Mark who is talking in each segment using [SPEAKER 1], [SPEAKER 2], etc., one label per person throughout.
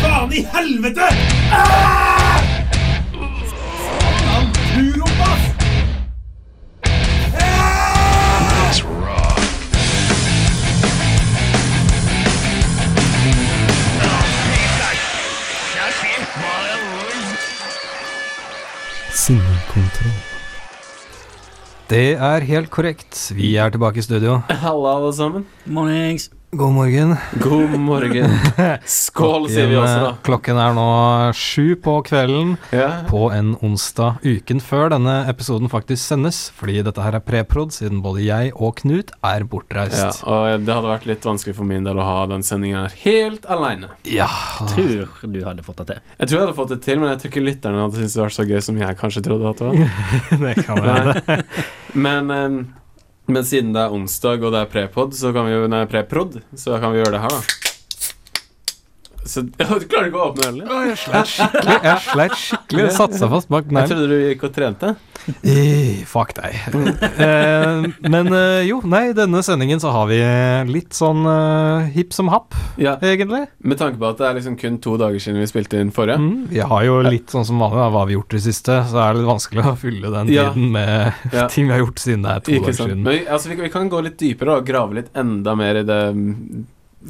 [SPEAKER 1] Faen i helvete! Ah! Satan, Turopass!
[SPEAKER 2] Sinnekontroll.
[SPEAKER 3] Det er helt korrekt. Vi er tilbake i studio.
[SPEAKER 4] Halla, alle sammen.
[SPEAKER 5] Mornings.
[SPEAKER 3] God morgen.
[SPEAKER 4] God morgen. Skål, sier vi også, da.
[SPEAKER 3] Klokken er nå sju på kvelden
[SPEAKER 4] Ja.
[SPEAKER 3] på en onsdag uken før denne episoden faktisk sendes, fordi dette her er preprod, siden både jeg og Knut er
[SPEAKER 4] ja.
[SPEAKER 3] bortreist.
[SPEAKER 4] Og det hadde vært litt vanskelig for min del å ha den sendinga helt aleine.
[SPEAKER 3] Ja.
[SPEAKER 5] Tror du hadde fått det til.
[SPEAKER 4] Jeg tror jeg hadde fått det til, men jeg tror ikke lytterne hadde syntes det var så gøy som jeg kanskje trodde at det var.
[SPEAKER 3] det kan være.
[SPEAKER 4] Nei. Men, em, men siden det er onsdag og det er prepod, så kan vi jo Nei, preprod, så kan vi gjøre det her, da. Så Du klarer ikke å åpne ølen? din?
[SPEAKER 3] Jeg sleit skikkelig. Jeg sleit skikkelig. Jeg satte seg fast bak
[SPEAKER 4] Jeg
[SPEAKER 3] neglen.
[SPEAKER 4] trodde du gikk og trente.
[SPEAKER 3] Eh, Fuck deg. Eh, men eh, jo, nei, denne sendingen så har vi eh, litt sånn eh, hipp som happ,
[SPEAKER 4] Ja,
[SPEAKER 3] egentlig.
[SPEAKER 4] Med tanke på at det er liksom kun to dager siden vi spilte inn forrige.
[SPEAKER 3] Mm, vi har jo litt sånn som vanlig, da, hva har vi gjort i det siste, så er det litt vanskelig å fylle den
[SPEAKER 4] Ja.
[SPEAKER 3] tiden med
[SPEAKER 4] Ja.
[SPEAKER 3] ting vi har gjort siden det er to
[SPEAKER 4] Ikke
[SPEAKER 3] dager
[SPEAKER 4] sant.
[SPEAKER 3] siden.
[SPEAKER 4] Men vi, altså, vi, vi kan gå litt dypere og grave litt enda mer i det,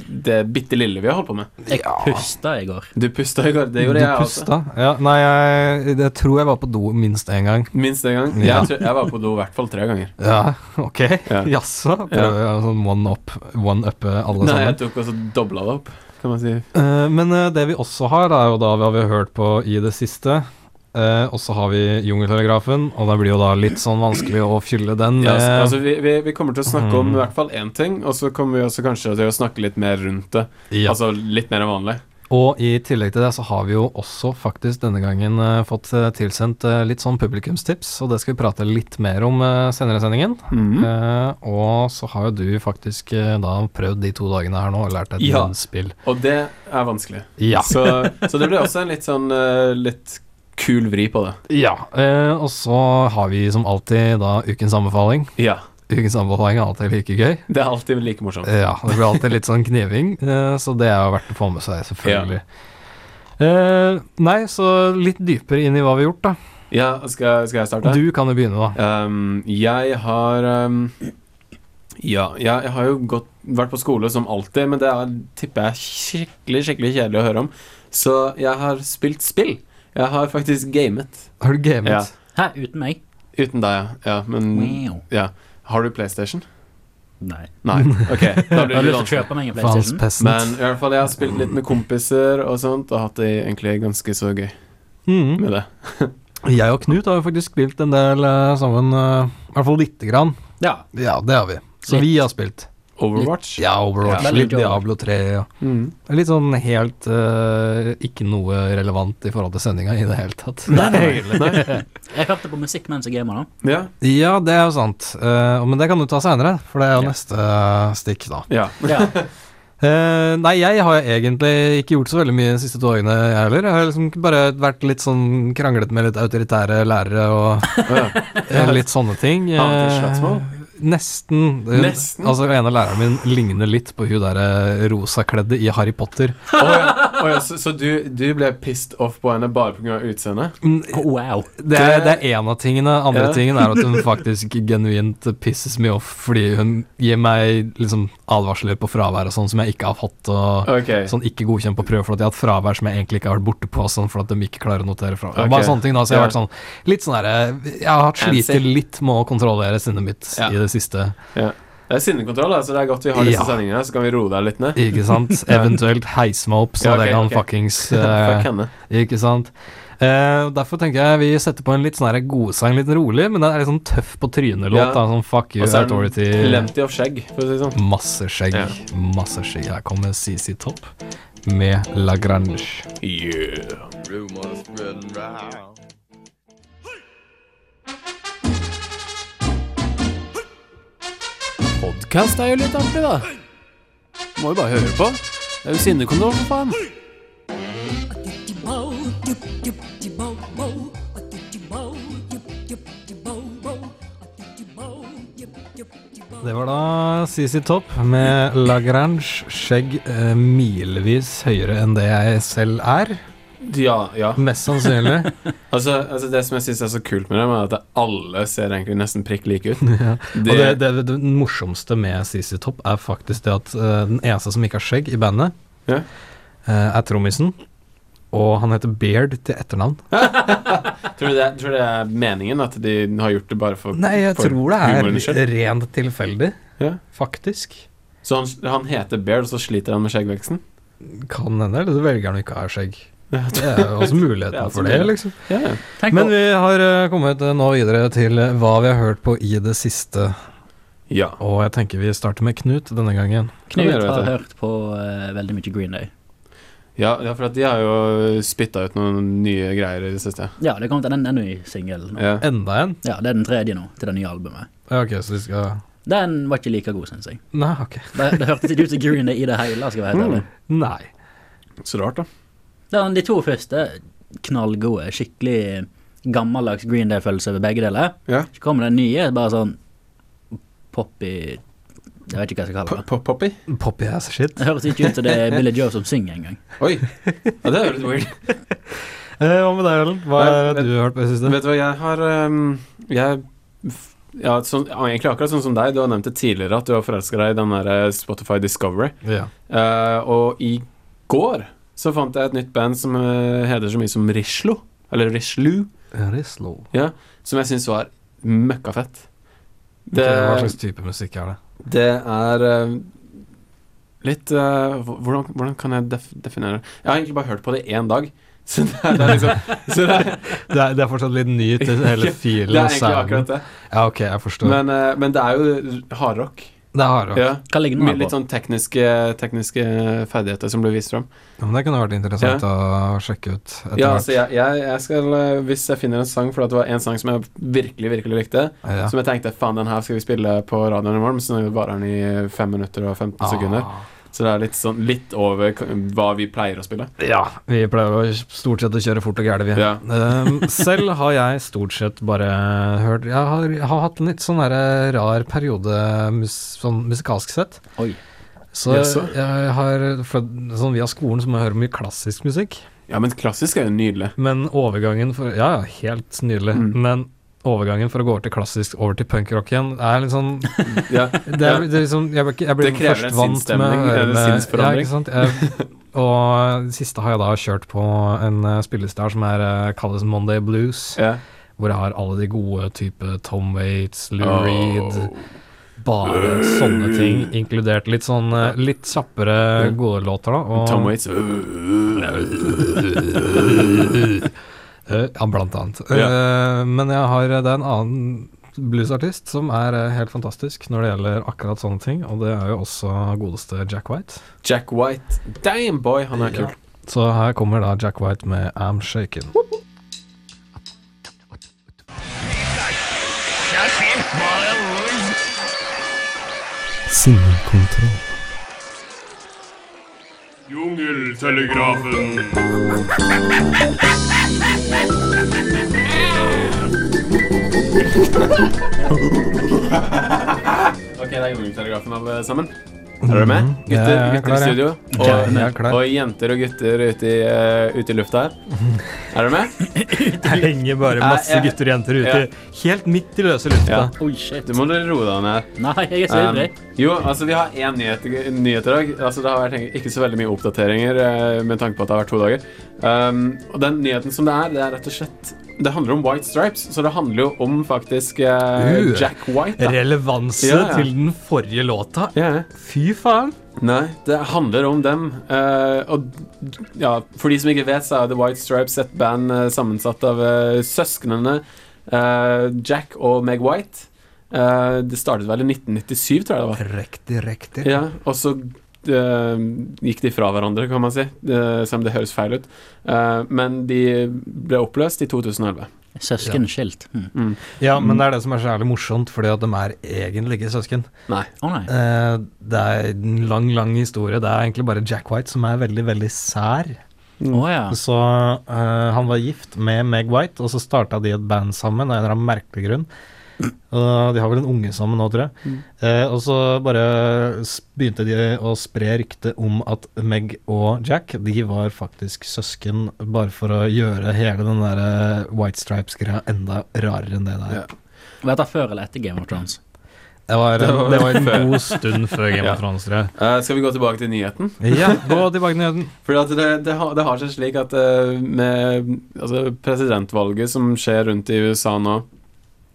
[SPEAKER 4] det bitte lille vi har holdt på med.
[SPEAKER 5] Jeg pusta i går.
[SPEAKER 4] Du pusta i går. Det gjorde
[SPEAKER 3] du
[SPEAKER 4] jeg også.
[SPEAKER 3] pusta? Ja, nei, jeg, jeg tror jeg var på do minst én gang.
[SPEAKER 4] Minst en gang.
[SPEAKER 3] Ja.
[SPEAKER 4] Jeg, tror, jeg var på do i hvert fall tre ganger.
[SPEAKER 3] Ja, ok.
[SPEAKER 4] Ja.
[SPEAKER 3] Jaså? Prøver jeg sånn one up, one uppe alle
[SPEAKER 4] Nei,
[SPEAKER 3] sammen?
[SPEAKER 4] jeg tok også dobla det opp, kan man si.
[SPEAKER 3] Eh, men eh, det vi også har, er jo da vi har hørt på i det siste. Eh, og så har vi Jungeltelegrafen, og det blir jo da litt sånn vanskelig å fylle den. med-
[SPEAKER 4] Ja, altså, altså, vi, vi, vi kommer til å snakke om
[SPEAKER 3] Mm.
[SPEAKER 4] i hvert fall én ting, og så kommer vi også kanskje til å snakke litt mer rundt det.
[SPEAKER 3] ja.
[SPEAKER 4] Altså litt mer enn vanlig.
[SPEAKER 3] Og i tillegg til det så har vi jo også faktisk denne gangen eh, fått eh, tilsendt eh, litt sånn publikumstips, og det skal vi prate litt mer om eh, senere i sendingen.
[SPEAKER 4] Mm.
[SPEAKER 3] Eh, og så har jo du faktisk eh, da prøvd de to dagene her nå og lært deg et
[SPEAKER 4] Ja.
[SPEAKER 3] munnspill.
[SPEAKER 4] Og det er vanskelig.
[SPEAKER 3] Ja.
[SPEAKER 4] Så, så det blir også en litt sånn eh, litt kul vri på det.
[SPEAKER 3] ja. Eh, og så har vi som alltid da ukens anbefaling.
[SPEAKER 4] Ja.
[SPEAKER 3] Ukens anbefaling er alltid like gøy. Eh,
[SPEAKER 4] Det er alltid like morsomt.
[SPEAKER 3] Ja, det blir alltid litt sånn kniving, eh, så det er jo verdt å få med seg, selvfølgelig. Eh, nei, så litt dypere inn i hva vi har gjort, da.
[SPEAKER 4] Ja, skal, skal jeg starte?
[SPEAKER 3] Du kan jo begynne, da.
[SPEAKER 4] Ehm, jeg har ehm, Ja, jeg, jeg har jo gått, vært på skole som alltid, men det er, tipper jeg er skikkelig, skikkelig kjedelig å høre om. Så jeg har spilt spill. Jeg har faktisk gamet.
[SPEAKER 3] Har du gamet?
[SPEAKER 4] Ja.
[SPEAKER 5] Hæ, uten meg?
[SPEAKER 4] Uten deg, ja. ja. Men
[SPEAKER 5] Wow.
[SPEAKER 4] ja. Har du PlayStation?
[SPEAKER 5] Nei.
[SPEAKER 4] Nei. Ok, da
[SPEAKER 5] Jeg har lyst til
[SPEAKER 4] blir det
[SPEAKER 5] å
[SPEAKER 4] vanskelig.
[SPEAKER 5] kjøpe meg en
[SPEAKER 3] Faens
[SPEAKER 5] PlayStation.
[SPEAKER 3] peasant.
[SPEAKER 4] Men i hvert fall, jeg har spilt litt med kompiser og sånt, og hatt det egentlig ganske så gøy
[SPEAKER 3] Mhm.
[SPEAKER 4] med det.
[SPEAKER 3] Jeg og Knut har jo faktisk spilt en del eh, sammen, eh, i hvert fall lite grann.
[SPEAKER 5] Ja.
[SPEAKER 3] Ja, det har vi. Så
[SPEAKER 5] Litt.
[SPEAKER 3] vi har spilt.
[SPEAKER 4] Overwatch?
[SPEAKER 3] Ja, Overwatch,
[SPEAKER 5] Ja.
[SPEAKER 3] litt Diablo 3 ja.
[SPEAKER 4] Mm.
[SPEAKER 3] Det er Litt sånn helt eh, ikke noe relevant i forhold til sendinga i det hele tatt.
[SPEAKER 5] Jeg hørte på musikk mens jeg gamer, da.
[SPEAKER 4] ja.
[SPEAKER 3] Ja, det er jo sant. Eh, men det kan du ta seinere, for det er jo
[SPEAKER 5] Ja.
[SPEAKER 3] neste eh, stikk, da.
[SPEAKER 4] ja.
[SPEAKER 5] Ja.
[SPEAKER 3] Eh, nei, jeg har egentlig ikke gjort så veldig mye de siste to dagene, jeg heller. Jeg har liksom bare vært litt sånn kranglet med litt autoritære lærere og
[SPEAKER 4] Å, ja.
[SPEAKER 3] eh, litt sånne ting.
[SPEAKER 4] Havnet i slagsmål?
[SPEAKER 3] Eh, nesten. Det-
[SPEAKER 4] Nesten?
[SPEAKER 3] Altså, en av lærerne min ligner litt på hun derre rosakledde i Harry Potter.
[SPEAKER 4] Å ja. Å ja, så, så du, du ble pissed off på henne bare pga. utseendet?
[SPEAKER 3] Mm,
[SPEAKER 5] Wow.
[SPEAKER 3] Det er, det er en av tingene. Andre
[SPEAKER 4] Ja.
[SPEAKER 3] tingen er at hun faktisk genuint pisses mye off fordi hun gir meg liksom advarsler på fravær og sånn som jeg ikke har fått, og
[SPEAKER 4] Ok.
[SPEAKER 3] sånn ikke godkjent på prøve for at jeg har hatt fravær som jeg egentlig ikke har vært borte på, sånn for at de ikke klarer å notere fravær.
[SPEAKER 4] Ok.
[SPEAKER 3] Bare sånne ting da, så jeg har vært
[SPEAKER 4] Ja.
[SPEAKER 3] sånn litt sånn derre Jeg har hatt
[SPEAKER 4] Fancy.
[SPEAKER 3] slitt litt med å kontrollere sinnet mitt
[SPEAKER 4] Ja.
[SPEAKER 3] i det siste,
[SPEAKER 4] Det er sinnekontroll, da, så det er godt vi har disse
[SPEAKER 3] Ja.
[SPEAKER 4] sendingene, så kan vi roe deg litt ned.
[SPEAKER 3] ikke sant? Eventuelt heise meg opp, så
[SPEAKER 4] Ja,
[SPEAKER 3] at
[SPEAKER 4] ok,
[SPEAKER 3] jeg kan
[SPEAKER 4] ok.
[SPEAKER 3] fuckings eh,
[SPEAKER 4] Fuck henne.
[SPEAKER 3] Ikke sant? Eh, og derfor tenker jeg vi setter på en litt sånn her godsang, litt rolig, men den er litt sånn tøff på trynet-låt.
[SPEAKER 4] Ja.
[SPEAKER 3] da, Sånn fuck you,
[SPEAKER 4] Og så er
[SPEAKER 3] authority.
[SPEAKER 4] den plenty of skjegg, for å si det sånn.
[SPEAKER 3] Masse skjegg.
[SPEAKER 4] Ja.
[SPEAKER 3] Masse skjegg. Her kommer CC Topp med La Grange.
[SPEAKER 4] Yeah.
[SPEAKER 6] Rumors spreading round.
[SPEAKER 4] Podkast er jo litt artig, da. Må jo bare høre på. Det er jo sinnekontroll, for faen.
[SPEAKER 7] Bow,
[SPEAKER 3] Det var da CC Topp med Lagrange skjegg eh, milevis høyere enn det jeg selv er.
[SPEAKER 4] Ja, ja.
[SPEAKER 3] Mest sannsynlig.
[SPEAKER 4] Altså, altså Det som jeg syns er så kult med dem, er at alle ser egentlig nesten prikk like ut.
[SPEAKER 3] ja.
[SPEAKER 4] Det,
[SPEAKER 3] Og det, det, det morsomste med CC Topp er faktisk det at eh, den eneste som ikke har skjegg i bandet,
[SPEAKER 4] Ja.
[SPEAKER 3] eh, er trommisen. Og han heter Beard til etternavn.
[SPEAKER 4] tror, du det, tror du det er meningen at de har gjort det bare for
[SPEAKER 3] Nei, jeg
[SPEAKER 4] for
[SPEAKER 3] tror
[SPEAKER 4] humorens
[SPEAKER 3] det
[SPEAKER 4] skyld?
[SPEAKER 3] er rent tilfeldig,
[SPEAKER 4] Ja.
[SPEAKER 3] faktisk.
[SPEAKER 4] Så han, han heter Bear, og så sliter han med skjeggveksten?
[SPEAKER 3] Kan hende, eller du velger han ikke å ha skjegg.
[SPEAKER 4] Ja,
[SPEAKER 3] Det er jo også
[SPEAKER 4] Det er
[SPEAKER 3] muligheten
[SPEAKER 4] også
[SPEAKER 3] for det,
[SPEAKER 4] mulig.
[SPEAKER 3] liksom.
[SPEAKER 4] Ja, ja.
[SPEAKER 5] Tenk
[SPEAKER 3] Men
[SPEAKER 5] på,
[SPEAKER 3] vi har eh, kommet eh, nå videre til eh, hva vi har hørt på i det siste.
[SPEAKER 4] ja.
[SPEAKER 3] Og jeg tenker vi starter med Knut denne gangen.
[SPEAKER 4] Ja,
[SPEAKER 5] Knut
[SPEAKER 4] det vet
[SPEAKER 5] har
[SPEAKER 4] jeg.
[SPEAKER 5] hørt på eh, veldig mye Green Day.
[SPEAKER 4] Ja, ja, for at de har jo spytta ut noen nye greier i det siste.
[SPEAKER 5] Ja, det kom til en, en ny singel nå.
[SPEAKER 4] Ja.
[SPEAKER 3] Enda en?
[SPEAKER 5] Ja, det er den tredje nå, til det nye albumet.
[SPEAKER 3] Ja, ok, så de skal
[SPEAKER 5] Den var ikke like god, syns jeg.
[SPEAKER 3] Nei, ok.
[SPEAKER 5] Det, det hørtes ikke ut som Green Day i det hele, skal jeg være helt ærlig.
[SPEAKER 3] Nei.
[SPEAKER 4] Så rart, da.
[SPEAKER 5] Den, de to første, knallgode, skikkelig gammeldags Green Day-følelse ved begge deler.
[SPEAKER 4] Ja.
[SPEAKER 5] Så kommer den nye, bare sånn poppy Jeg vet ikke hva jeg skal kalle det.
[SPEAKER 4] Pop-poppy?
[SPEAKER 3] Poppy ass shit.
[SPEAKER 5] Det høres ikke ut som det er Billy Joe som synger engang.
[SPEAKER 4] Oi! Ja, det er jo litt weird.
[SPEAKER 3] Eh, hva med deg, Ellen? Hva
[SPEAKER 4] Nei,
[SPEAKER 3] er det
[SPEAKER 4] vet-
[SPEAKER 3] du har hørt på i det siste?
[SPEAKER 4] Vet du hva, jeg har ehm, Jeg f- ja, sånn, ja, Egentlig akkurat sånn som deg. Du har nevnt det tidligere at du har forelska deg i den der eh, Spotify Discovery.
[SPEAKER 3] Ja.
[SPEAKER 4] Eh, og i går så fant jeg et nytt band som eh, heter så mye som Rislo. Eller Rislu,
[SPEAKER 3] Rislo.
[SPEAKER 4] som jeg syns var møkkafett.
[SPEAKER 3] Det...
[SPEAKER 4] Det,
[SPEAKER 3] Hva slags type musikk er det?
[SPEAKER 4] det er eh, litt eh, hv- hvordan, hvordan kan jeg def definere det? Jeg har egentlig bare hørt på det én dag. Så det er, det er liksom så det, er,
[SPEAKER 3] Det er, det er fortsatt litt ny til hele
[SPEAKER 4] det
[SPEAKER 3] filen
[SPEAKER 4] er
[SPEAKER 3] og
[SPEAKER 4] egentlig
[SPEAKER 3] sounden.
[SPEAKER 4] akkurat det.
[SPEAKER 3] Ja, ok, jeg forstår.
[SPEAKER 4] Men, eh, men det er jo hardrock.
[SPEAKER 3] Det er hardrock.
[SPEAKER 4] Ja.
[SPEAKER 5] Hva ligger
[SPEAKER 4] Med
[SPEAKER 5] den her
[SPEAKER 4] litt
[SPEAKER 5] på?
[SPEAKER 4] sånn tekniske, tekniske ferdigheter som blir vist fram.
[SPEAKER 3] Ja, Men det kunne vært interessant å sjekke ut etter
[SPEAKER 4] Ja,
[SPEAKER 3] hvert.
[SPEAKER 4] altså jeg, jeg, jeg skal eh, Hvis jeg finner en sang, for at det var en sang som jeg virkelig virkelig likte,
[SPEAKER 3] ja.
[SPEAKER 4] som jeg tenkte faen, den her skal vi spille på radioen i morgen, så nå varer den i 5 minutter og 15 sekunder.
[SPEAKER 3] Ah.
[SPEAKER 4] Så det er litt sånn litt over k- hva vi pleier å spille.
[SPEAKER 3] Ja, vi pleier å stort sett å kjøre fort og gæle, vi.
[SPEAKER 4] Ja.
[SPEAKER 3] Ehm, selv har jeg stort sett bare hørt Jeg har, jeg har hatt en litt sånn derre rar periode mus, sånn musikalsk sett.
[SPEAKER 5] Oi.
[SPEAKER 3] Så
[SPEAKER 4] Jaså?
[SPEAKER 3] jeg har for, sånn Via skolen så må jeg høre mye klassisk musikk.
[SPEAKER 4] Ja, men klassisk er jo nydelig.
[SPEAKER 3] Men overgangen for Ja, ja, helt nydelig.
[SPEAKER 4] Mm.
[SPEAKER 3] Men overgangen for å gå over til klassisk over til punkrock igjen er litt sånn
[SPEAKER 4] Ja,
[SPEAKER 3] det er, det er liksom, jeg, ble ikke- jeg ble
[SPEAKER 4] Det krever
[SPEAKER 3] først vant
[SPEAKER 4] en
[SPEAKER 3] med å
[SPEAKER 4] sinnsstemning,
[SPEAKER 3] høre
[SPEAKER 4] en
[SPEAKER 3] med-
[SPEAKER 4] sinnsforandring.
[SPEAKER 3] Ja, ikke sant? Jeg, og det siste har jeg da kjørt på en eh, spilleliste her som er, eh, kalles Monday Blues,
[SPEAKER 4] ja.
[SPEAKER 3] hvor jeg har alle de gode type Tom Waits, Lou
[SPEAKER 4] Oh.
[SPEAKER 3] Reed, bare sånne ting, inkludert litt sånn eh, litt kjappere gode låter, da. Og,
[SPEAKER 4] Tom Waits.
[SPEAKER 3] Eh, Ja, blant annet.
[SPEAKER 4] Ja.
[SPEAKER 3] Eh, Men jeg har, det er en annen bluesartist som er eh, helt fantastisk når det gjelder akkurat sånne ting, og det er jo også godeste Jack White.
[SPEAKER 4] Jack White. Damn, boy, han er kul.
[SPEAKER 3] Så her kommer da Jack White med I'm Shaken. Sinnekontroll.
[SPEAKER 1] Jungeltelegrafen.
[SPEAKER 4] Ok, det er Jungeltelegrafen, alle sammen. Er dere med? Gutter,
[SPEAKER 3] Mm. Jeg er
[SPEAKER 4] gutter
[SPEAKER 3] klar,
[SPEAKER 4] i
[SPEAKER 3] jeg.
[SPEAKER 4] studio.
[SPEAKER 3] Jeg er
[SPEAKER 4] Og,
[SPEAKER 3] klar.
[SPEAKER 4] og jenter og gutter ute i, eh, ute i lufta her. Er dere med?
[SPEAKER 3] Det henger bare
[SPEAKER 4] masse Ja, jeg-
[SPEAKER 3] gutter og jenter
[SPEAKER 4] ute,
[SPEAKER 3] helt midt i løse lufta.
[SPEAKER 4] Ja.
[SPEAKER 5] Oi, shit.
[SPEAKER 4] Du sånn- må dere roe deg ned.
[SPEAKER 5] Nei, jeg er så
[SPEAKER 4] Um,
[SPEAKER 5] ivrig.
[SPEAKER 4] jo, altså vi har én nyhet, nyhet i dag. Altså, det har vært tenk- ikke så veldig mye oppdateringer eh, med tanke på at det har vært to dager. Um, og den nyheten som det er, det er rett og slett Det handler om White Stripes, så det handler jo om faktisk eh,
[SPEAKER 3] Uh.
[SPEAKER 4] Jack White. Da.
[SPEAKER 3] Relevanse
[SPEAKER 4] Ja, ja.
[SPEAKER 3] til den forrige låta.
[SPEAKER 4] Ja, ja.
[SPEAKER 3] Fy faen.
[SPEAKER 4] Nei, det handler om dem. Eh, og ja, for de som ikke vet, så er The White Stripes et band eh, sammensatt av eh, søsknene eh, Jack og Meg White. Eh, det startet vel i 1997, tror jeg det var.
[SPEAKER 3] Riktig, riktig.
[SPEAKER 4] Ja, og så eh, gikk de fra hverandre, kan man si. Eh, selv om det høres feil ut. Eh, men de ble oppløst i 2011.
[SPEAKER 5] Søskenskilt. Å hmm.
[SPEAKER 3] Ja, men det er det som er så jævlig morsomt, fordi at de er egentlig ikke søsken.
[SPEAKER 4] Nei.
[SPEAKER 5] Å, nei.
[SPEAKER 3] Eh, det er en lang, lang historie. Det er egentlig bare Jack White som er veldig, veldig sær.
[SPEAKER 4] Um,
[SPEAKER 5] Å ja.
[SPEAKER 3] Så eh, han var gift med Meg White, og så starta de et band sammen av en eller annen merkelig grunn. Eh, de har vel en unge sammen nå, tror jeg. Eh, og så bare s- begynte de å spre ryktet om at Meg og Jack de var faktisk søsken, bare for å gjøre hele den der eh, White Stripes-greia enda rarere enn det det er.
[SPEAKER 4] Ja.
[SPEAKER 5] Var dette før eller etter Game of Thrones?
[SPEAKER 3] Det var,
[SPEAKER 4] Det var
[SPEAKER 3] det var en
[SPEAKER 4] før.
[SPEAKER 3] god stund før Game
[SPEAKER 4] Ja.
[SPEAKER 3] of Thrones, tror jeg.
[SPEAKER 4] Eh, skal vi gå tilbake til nyheten?
[SPEAKER 3] Ja, gå tilbake til nyheten.
[SPEAKER 4] Fordi at det, det, har, det har seg slik at eh, med altså, presidentvalget som skjer rundt i USA nå,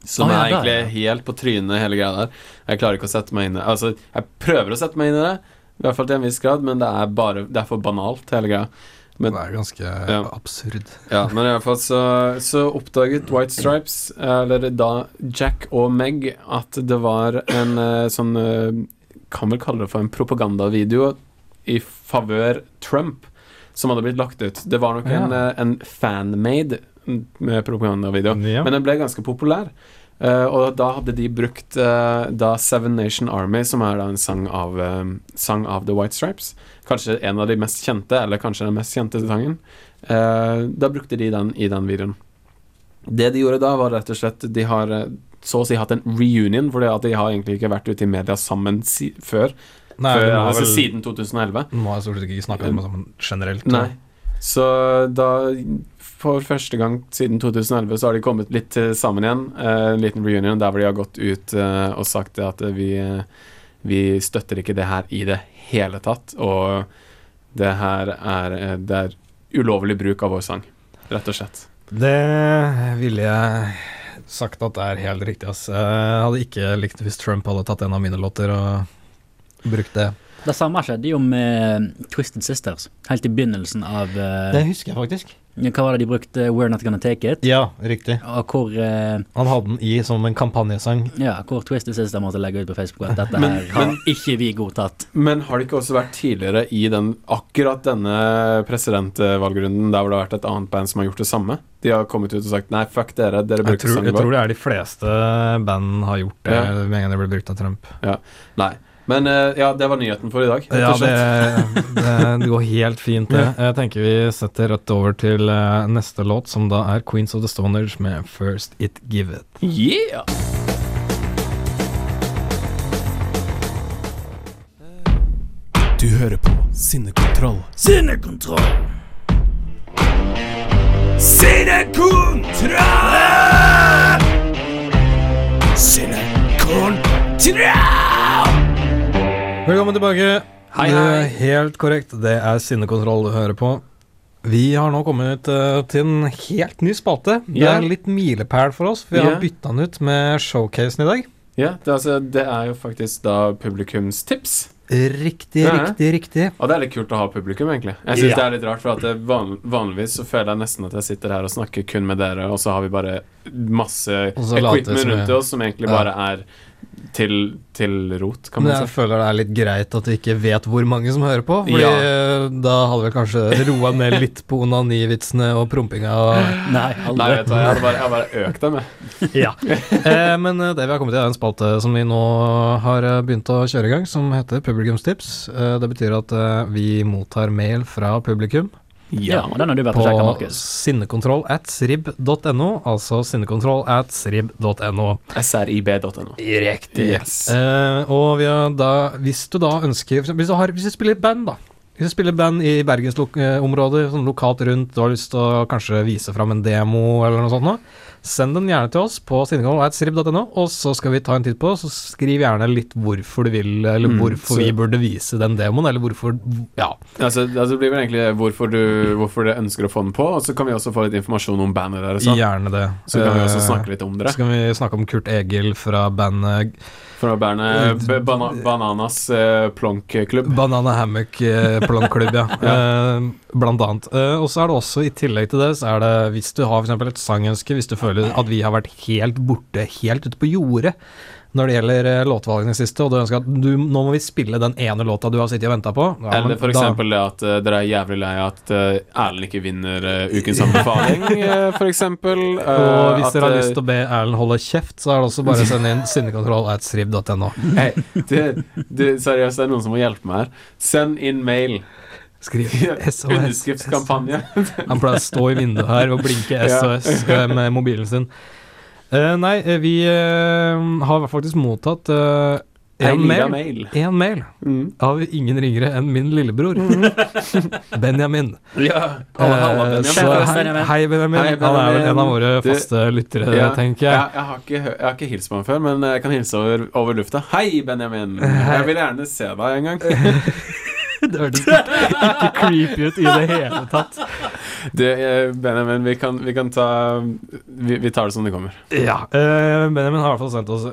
[SPEAKER 4] som
[SPEAKER 5] Å, ja,
[SPEAKER 4] er
[SPEAKER 5] der,
[SPEAKER 4] egentlig
[SPEAKER 5] ja.
[SPEAKER 4] helt på trynet, hele greia der Jeg klarer ikke å sette meg inn i det. Altså, jeg prøver å sette meg inn i det, i hvert fall til en viss grad, men det er bare Det er for banalt, hele greia. Men,
[SPEAKER 3] Det er ganske
[SPEAKER 4] Ja.
[SPEAKER 3] absurd.
[SPEAKER 4] ja, men i hvert fall så, så oppdaget White Stripes, eller da Jack og Meg, at det var en eh, sånn eh, Kan vel kalle det for en propagandavideo i favør Trump som hadde blitt lagt ut. Det var nok en,
[SPEAKER 3] Ja.
[SPEAKER 4] eh, en fanmade mm, med propagandavideo,
[SPEAKER 3] Ja.
[SPEAKER 4] men den ble ganske populær. Eh, og da hadde de brukt eh, da Seven Nation Army, som er da en sang av, eh, sang av The White Stripes. Kanskje en av de mest kjente, eller kanskje den mest kjente sangen. Eh, da brukte de den i den videoen. Det de gjorde da, var rett og slett De har eh, så å si hatt en reunion, fordi at de har egentlig ikke vært ute i media sammen si før.
[SPEAKER 3] Nei,
[SPEAKER 4] før
[SPEAKER 3] den var
[SPEAKER 4] altså,
[SPEAKER 3] vel-
[SPEAKER 4] siden 2011.
[SPEAKER 3] Nå har jeg stort sett ikke snakket om det sammen generelt.
[SPEAKER 4] Nei. Så da For første gang siden 2011 så har de kommet litt eh, sammen igjen. eh, En liten reunion der hvor de har gått ut eh, og sagt det at eh, vi, eh, vi støtter ikke det her i det hele tatt. Og det her er, eh, det er ulovlig bruk av vår sang, rett og slett.
[SPEAKER 3] Det ville jeg sagt at er helt riktig, ass. Jeg hadde ikke likt det hvis Trump hadde tatt en av mine låter og brukt det.
[SPEAKER 5] Det samme skjedde jo med um, Twisted Sisters, helt i begynnelsen av eh,
[SPEAKER 3] husker jeg faktisk.
[SPEAKER 5] ja, Hva var det de brukte? We're Not Gonna Take It?
[SPEAKER 3] Ja, riktig.
[SPEAKER 5] Og hvor, eh,
[SPEAKER 3] Han hadde den i som en kampanjesang.
[SPEAKER 5] ja, hvor Twisted Sister måtte legge ut på Facebook at dette
[SPEAKER 4] Men-
[SPEAKER 5] her har ikke vi godtatt.
[SPEAKER 4] Men har det ikke også vært tidligere i den, akkurat denne presidentvalgrunden der hvor det har vært et annet band som har gjort det samme? De har kommet ut og sagt nei, fuck dere, dere
[SPEAKER 3] Jeg
[SPEAKER 4] bruker
[SPEAKER 3] tror,
[SPEAKER 4] sangen
[SPEAKER 3] jeg
[SPEAKER 4] vår.
[SPEAKER 3] tror det er de fleste band har gjort det
[SPEAKER 4] Ja.
[SPEAKER 3] med en gang det ble brukt av Trump.
[SPEAKER 4] Nei. Men eh, ja, det var nyheten for i dag. rett
[SPEAKER 3] Ja,
[SPEAKER 4] og
[SPEAKER 3] det,
[SPEAKER 4] slett.
[SPEAKER 3] det, det går helt fint, det. Jeg tenker vi setter rett over til eh, neste låt, som da er Queens of the Stoners med First It Give It.
[SPEAKER 4] Yeah! Du hører på Sinnekontroll.
[SPEAKER 5] Sinnekontroll!
[SPEAKER 1] Sinnekontroll! Sinnekontroll!
[SPEAKER 3] Velkommen tilbake.
[SPEAKER 4] Hei,
[SPEAKER 3] Det
[SPEAKER 4] hei.
[SPEAKER 3] er Helt korrekt. Det er sinnekontroll du hører på. Vi har nå kommet eh, til en helt ny spalte. Det
[SPEAKER 4] Ja.
[SPEAKER 3] er litt milepæl for oss. for Vi
[SPEAKER 4] Ja.
[SPEAKER 3] har bytta den ut med showcasen i dag.
[SPEAKER 4] Ja, det, er altså, det er jo faktisk da publikumstips.
[SPEAKER 3] Riktig,
[SPEAKER 4] Ja, ja.
[SPEAKER 3] riktig, riktig.
[SPEAKER 4] Og det er litt kult å ha publikum, egentlig. Jeg synes
[SPEAKER 3] Ja.
[SPEAKER 4] det er litt rart, for at det van vanligvis så føler jeg nesten at jeg sitter her og snakker kun med dere, og så har vi bare masse
[SPEAKER 3] Og så later vi
[SPEAKER 4] equipment
[SPEAKER 3] som vi-
[SPEAKER 4] rundt oss som
[SPEAKER 3] Ja.
[SPEAKER 4] egentlig bare er til, til rot, kan
[SPEAKER 3] Men
[SPEAKER 4] man
[SPEAKER 3] jeg
[SPEAKER 4] si.
[SPEAKER 3] føler det er litt greit at vi ikke vet hvor mange som hører på. Fordi
[SPEAKER 4] Ja.
[SPEAKER 3] eh, da hadde vi kanskje roa ned litt på onanivitsene og prompinga. Og,
[SPEAKER 5] Nei,
[SPEAKER 4] Nei,
[SPEAKER 5] aldri.
[SPEAKER 4] vet du hva, jeg hadde bare, jeg hadde bare økt dem, jeg.
[SPEAKER 3] eh, men eh, det vi har kommet til, er en spalte som vi nå har eh, begynt å kjøre i gang, som heter Publikumstips. Eh, det betyr at eh, vi mottar mail fra publikum.
[SPEAKER 5] ja, og den har du vært og sjekka,
[SPEAKER 3] på
[SPEAKER 5] Markus.
[SPEAKER 3] sinnekontroll at srib.no, altså sinnekontroll at srib.no.
[SPEAKER 4] srib.no.
[SPEAKER 3] Riktig.
[SPEAKER 4] Yes.
[SPEAKER 3] Eh, og vi har da, hvis du da ønsker for eksempel, Hvis du, har, hvis du spiller i band, da. Hvis du spiller i band i bergensområdet, sånn lokalt rundt, du har lyst til å kanskje vise fram en demo eller noe sånt, nå, send den gjerne til oss på sinnekontroll.srib.no, og så skal vi ta en titt på det. Så skriv gjerne litt hvorfor du vil, eller
[SPEAKER 4] Mm,
[SPEAKER 3] hvorfor
[SPEAKER 4] så-
[SPEAKER 3] vi burde vise den demoen, eller hvorfor Ja.
[SPEAKER 4] Altså, altså det blir vel egentlig hvorfor du, hvorfor du ønsker å få den på, og så kan vi også få litt informasjon om bandet deres. da.
[SPEAKER 3] Gjerne det.
[SPEAKER 4] Så kan vi også
[SPEAKER 3] Eh,
[SPEAKER 4] snakke litt om dere.
[SPEAKER 3] Så kan vi snakke om Kurt Egil fra bandet
[SPEAKER 4] Fra bandet B- Bana Bananas eh, plonkklubb.
[SPEAKER 3] Banana Hammock eh, Planklubb, ja. Eh, blant annet. Eh, og så er det også, i tillegg til det, så er det hvis du har for eksempel et sangønske, hvis du føler at vi har vært helt borte, helt ute på jordet når det gjelder eh, låtvalgene siste, og du ønsker at du, nå må vi spille den ene låta du har sittet og venta på ja,
[SPEAKER 4] Eller
[SPEAKER 3] men
[SPEAKER 4] for
[SPEAKER 3] da-
[SPEAKER 4] eksempel det at eh, dere er jævlig lei av at eh, Erlend ikke vinner eh, ukens anbefaling, eh, for eksempel. Eh,
[SPEAKER 3] Og hvis
[SPEAKER 4] at,
[SPEAKER 3] dere har
[SPEAKER 4] eh,
[SPEAKER 3] lyst til å be Erlend holde kjeft, så er det også bare å sende inn sinnekontroll at srib.no.
[SPEAKER 4] Hei, du, du, seriøst, det er noen som må hjelpe meg her. Send inn mail.
[SPEAKER 3] Skriv SOS.
[SPEAKER 4] Underskriftskampanje.
[SPEAKER 3] Han pleier å stå i vinduet her og blinke
[SPEAKER 4] Ja.
[SPEAKER 3] SOS med mobilen sin. Eh, Eh, nei, eh, vi eh, har faktisk mottatt eh, en
[SPEAKER 4] Jeg liker
[SPEAKER 3] mail.
[SPEAKER 4] mail.
[SPEAKER 3] En mail
[SPEAKER 4] Mm.
[SPEAKER 3] av ingen ringere enn min lillebror, Benjamin.
[SPEAKER 4] Ja. Halla, halla,
[SPEAKER 3] Eh,
[SPEAKER 4] Mm. Benjamin.
[SPEAKER 3] så hei, hei, Benjamin.
[SPEAKER 4] Hei,
[SPEAKER 3] Han er vel en av
[SPEAKER 4] Benjamin.
[SPEAKER 3] våre
[SPEAKER 4] Du-
[SPEAKER 3] faste lyttere,
[SPEAKER 4] Ja,
[SPEAKER 3] eh, tenker jeg.
[SPEAKER 4] Jeg, jeg, har ikke, hø- jeg har ikke hilst på ham før, men eh, jeg kan hilse over, over lufta. Hei, Benjamin!
[SPEAKER 3] Eh, Hei.
[SPEAKER 4] Jeg vil gjerne se deg en gang.
[SPEAKER 3] Det hørtes ikke, ikke creepy ut i det hele tatt.
[SPEAKER 4] Du, eh, Benjamin, vi kan, vi kan ta vi, vi tar det som det kommer.
[SPEAKER 3] Ja, eh, Benjamin har i hvert fall sendt oss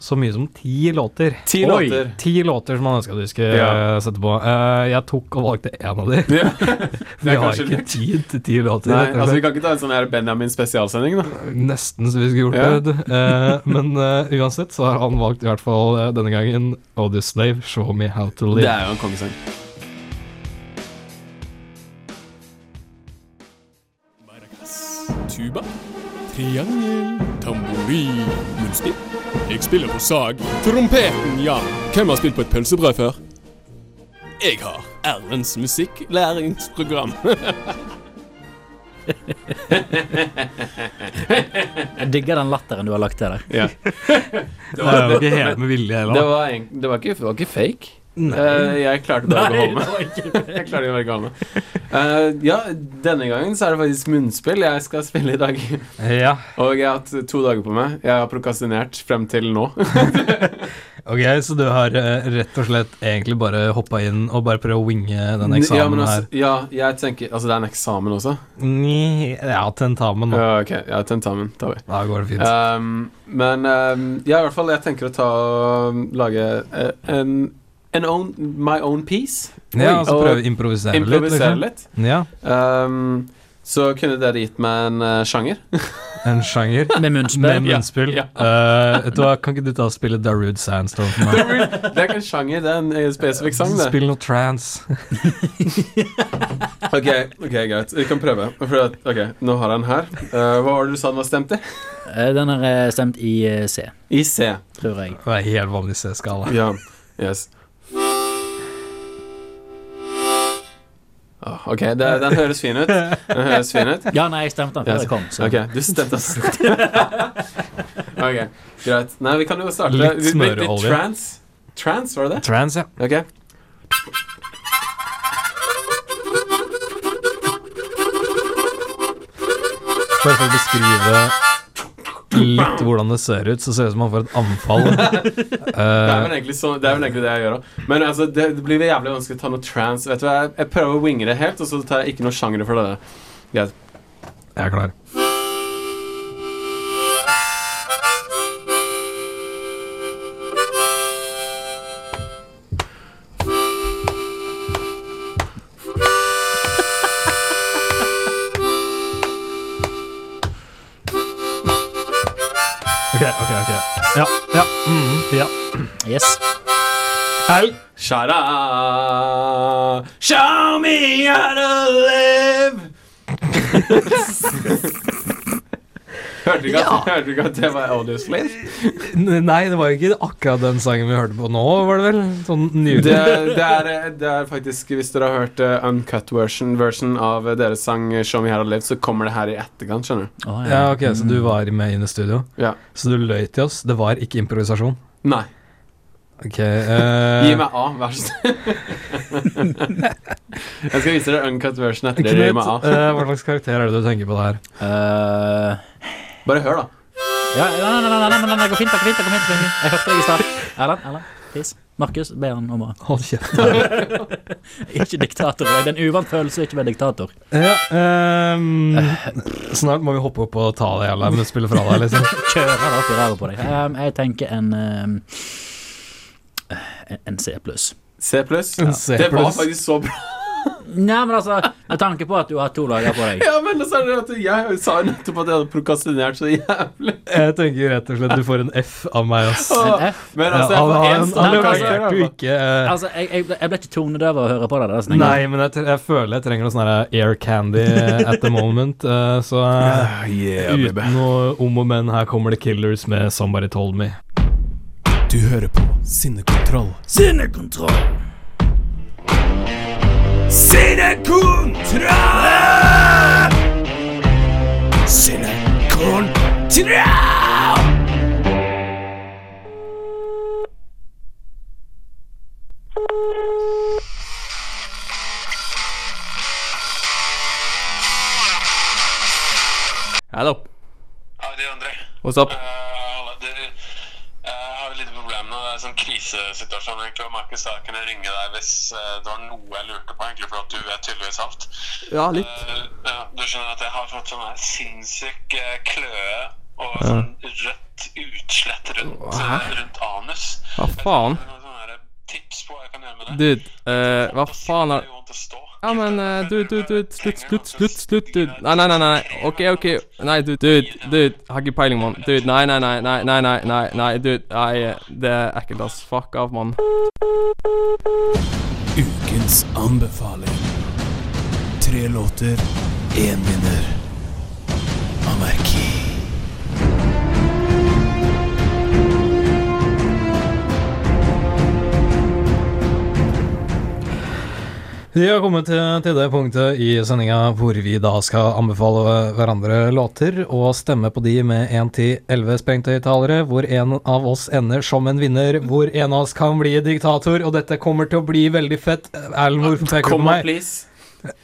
[SPEAKER 3] så mye som ti låter.
[SPEAKER 4] Ti
[SPEAKER 5] Oi.
[SPEAKER 4] låter.
[SPEAKER 3] Ti låter som han ønska du skulle
[SPEAKER 4] Ja.
[SPEAKER 3] eh, sette på. Eh, jeg tok og valgte én av de.
[SPEAKER 4] Ja.
[SPEAKER 3] Vi har
[SPEAKER 4] kanskje
[SPEAKER 3] ikke
[SPEAKER 4] lurt.
[SPEAKER 3] tid til ti låter.
[SPEAKER 4] Nei,
[SPEAKER 3] rett og
[SPEAKER 4] altså Vi
[SPEAKER 3] slett.
[SPEAKER 4] kan ikke ta en sånn her Benjamin spesialsending, da.
[SPEAKER 3] Nesten så vi skulle gjort
[SPEAKER 4] Ja.
[SPEAKER 3] det. Eh, men eh, uansett så har han valgt i hvert fall eh, denne gangen Odious Slave, Show Me How To
[SPEAKER 4] Det
[SPEAKER 3] Live.
[SPEAKER 4] er jo en kongesang.
[SPEAKER 2] Tuba, triangel, tamburin, munnspill. Jeg spiller på sag. Trompeten, ja. Hvem har spilt på et pølsebrød før? Jeg har Erlends musikklæringsprogram.
[SPEAKER 5] Jeg digger den latteren du har lagt til der.
[SPEAKER 4] Ja.
[SPEAKER 3] Det er jo ikke helt med vilje
[SPEAKER 4] Det
[SPEAKER 3] heller.
[SPEAKER 4] var, en, det var, ikke, det var ikke fake. Eh, jeg klarte bare å beholde meg. Jeg klarer å være gal nå. Eh, ja, denne gangen så er det faktisk munnspill jeg skal spille i dag.
[SPEAKER 3] Ja,
[SPEAKER 4] Og jeg har hatt to dager på meg. Jeg har prokastinert frem til nå.
[SPEAKER 3] ok, Så du har eh, rett og slett egentlig bare hoppa inn og bare prøvd å winge den eksamen
[SPEAKER 4] ja, men altså,
[SPEAKER 3] her?
[SPEAKER 4] ja, jeg tenker Altså, det er en eksamen også.
[SPEAKER 3] Ni, ja, tentamen, da.
[SPEAKER 4] Ja, ok, ja, tentamen tar vi.
[SPEAKER 3] Da går det fint.
[SPEAKER 4] Um, men um, ja, i hvert fall, jeg tenker å ta og lage eh, en an own, my own piece.
[SPEAKER 3] ja, altså
[SPEAKER 4] og
[SPEAKER 3] prøve å improvisere,
[SPEAKER 4] Improvisere
[SPEAKER 3] litt.
[SPEAKER 4] litt.
[SPEAKER 3] Liksom. Ja,
[SPEAKER 4] Um, så kunne dere gitt meg en eh, sjanger?
[SPEAKER 3] En sjanger.
[SPEAKER 5] Med
[SPEAKER 3] Med
[SPEAKER 5] munnspill.
[SPEAKER 3] munnspill.
[SPEAKER 4] Ja,
[SPEAKER 3] Eh, vet du hva, kan ikke du ta og spille Darude Sandstorm for meg?
[SPEAKER 4] Det er ikke en sjanger, det er en eh, spesifikk sang, det.
[SPEAKER 3] Spill noe trance.
[SPEAKER 4] Ok, ok, greit. Vi kan prøve. For at, ok, Nå har jeg den her. Eh, hva var det du sa den var stemt i?
[SPEAKER 5] Eh, Den har eh, stemt i eh, C,
[SPEAKER 4] I C.
[SPEAKER 5] tror jeg.
[SPEAKER 3] Det er helt vanlig C-skala.
[SPEAKER 4] Ja. Yes. Åh, Ah, ok, det, den høres fin ut. Den høres fin ut.
[SPEAKER 5] Ja, nei, jeg stemte den før
[SPEAKER 4] Yes.
[SPEAKER 5] jeg kom. Så.
[SPEAKER 4] Ok, du stemte oss. ok, greit. Nei, vi kan jo starte.
[SPEAKER 3] Litt
[SPEAKER 4] Vi- vi-
[SPEAKER 3] smøreolje.
[SPEAKER 4] vi- Trans. Trans, var det det?
[SPEAKER 3] Trance, ja.
[SPEAKER 4] Ok.
[SPEAKER 3] Bare for å beskrive litt hvordan det ser ut, så ser det ut som man får et anfall.
[SPEAKER 4] Det er
[SPEAKER 3] Eh,
[SPEAKER 4] vel egentlig, så, det, er vel egentlig det jeg gjør òg. Men altså, det, det blir jævlig vanskelig å ta noe trans. Vet du hva, jeg, jeg prøver å winge det helt, og så tar jeg ikke noe sjanger for det. Greit.
[SPEAKER 3] jeg er klar. Ok, ok, ok. Ja, ja, mhm, ja.
[SPEAKER 5] Yes.
[SPEAKER 3] Hell.
[SPEAKER 4] Shara, show me how to live. hørte, du ikke at, hørte du ikke at det var Audio Slave?
[SPEAKER 3] N- Nei, det var jo ikke akkurat den sangen vi hørte på nå, var det vel? Sånn nylig.
[SPEAKER 4] Det, det, er, det er faktisk, hvis dere har hørt eh, uncut version, version av eh, deres sang eh, Show me how to live, så kommer det her i etterkant, skjønner du.
[SPEAKER 5] Å,
[SPEAKER 3] Ja, ok, så du var med inn i studio?
[SPEAKER 4] Ja.
[SPEAKER 3] Så du løy til oss? Det var ikke improvisasjon?
[SPEAKER 4] Nei.
[SPEAKER 3] Ok, eh,
[SPEAKER 4] Gi meg A, vær så snill. Jeg skal vise dere uncut version etter dere gir meg
[SPEAKER 3] Knut,
[SPEAKER 4] A.
[SPEAKER 3] eh, hva slags karakter er det du tenker på der?
[SPEAKER 5] Eh,
[SPEAKER 4] Bare hør, da.
[SPEAKER 5] Ja, ja, nei, nei, nei, nei, nei, nei, det går fint, det går fint, det går fint. det går fint. Jeg hørte deg i stad. Erlend, Erlend, tiss. Markus, be han om å
[SPEAKER 3] Hold kjeft.
[SPEAKER 5] Ikke diktator. Det er en uvant følelse å ikke være diktator.
[SPEAKER 3] Ja, ehm, snart må vi hoppe opp og ta det jævla med spillet fra deg, liksom.
[SPEAKER 5] Kjøre det opp i ræva på deg. Um, jeg tenker en um, en- en C pluss.
[SPEAKER 4] C pluss.
[SPEAKER 3] En C
[SPEAKER 4] Det var
[SPEAKER 3] pluss.
[SPEAKER 4] faktisk så bra.
[SPEAKER 5] Nei, men altså, med tanke på at du har to dager på deg.
[SPEAKER 4] Ja, men så er det at jeg sa jo nettopp at jeg hadde prokastinert så jævlig.
[SPEAKER 3] Jeg tenker rett og slett du får en F av meg, ass. Ja,
[SPEAKER 5] En F.
[SPEAKER 4] Men altså, jeg
[SPEAKER 3] han
[SPEAKER 4] får
[SPEAKER 3] han,
[SPEAKER 4] én
[SPEAKER 3] han
[SPEAKER 5] Nei,
[SPEAKER 4] standardkarakter,
[SPEAKER 3] leverte jo
[SPEAKER 4] altså.
[SPEAKER 3] ikke eh,
[SPEAKER 5] Altså, jeg, jeg, ble- jeg ble ikke tonedøv av å høre på det. det er sånn,
[SPEAKER 3] Nei, men jeg, tre- jeg føler jeg trenger noe sånn her air candy at the moment, eh, så eh, Uten noe om og men, her kommer det Killers med Somebody Told Me.
[SPEAKER 2] Du hører på Sinnekontroll.
[SPEAKER 5] Sinnekontroll!
[SPEAKER 2] Sinnekontroll!
[SPEAKER 7] Hello.
[SPEAKER 8] Hei, det er André.
[SPEAKER 7] What's up?
[SPEAKER 8] Eh, Halla, du eh, har et lite problem nå. Det er en sånn krisesituasjon. egentlig, og Markus, da kunne jeg ringe deg hvis eh, det var noe jeg lurte på, egentlig, for at du vet tydeligvis alt.
[SPEAKER 7] Ja, litt.
[SPEAKER 8] Eh, ja, du skjønner at jeg har fått sånn her sinnssyk eh, kløe og sånn rødt utslett rundt, eh, rundt anus.
[SPEAKER 7] Hva faen?
[SPEAKER 8] Det er noen sånne her tips på hva jeg kan gjøre med det.
[SPEAKER 7] Dude, eh, hva faen er
[SPEAKER 8] Det gjør vondt å stå.
[SPEAKER 7] Ja, men eh, dude, dude, dude, slutt, slutt, slutt, slutt, dude. Nei, nei, nei, nei. OK, OK. Nei, dude, dude, dude. Har ikke peiling, mann. Dude, nei, nei, nei, nei, nei, nei, nei, nei, dude. Nei, eh, det er ekkelt, ass. Fuck av, mann.
[SPEAKER 1] Ukens anbefaling. Tre låter, én vinner. Anarki.
[SPEAKER 3] Vi har kommet til, til det punktet i sendinga hvor vi da skal anbefale hverandre låter og stemme på de med 1-10-11 sprengtøytalere, hvor en av oss ender som en vinner, hvor en av oss kan bli diktator, og dette kommer til å bli veldig fett. Erlend, hvorfor peker du på
[SPEAKER 4] Komma,
[SPEAKER 3] meg?
[SPEAKER 4] please.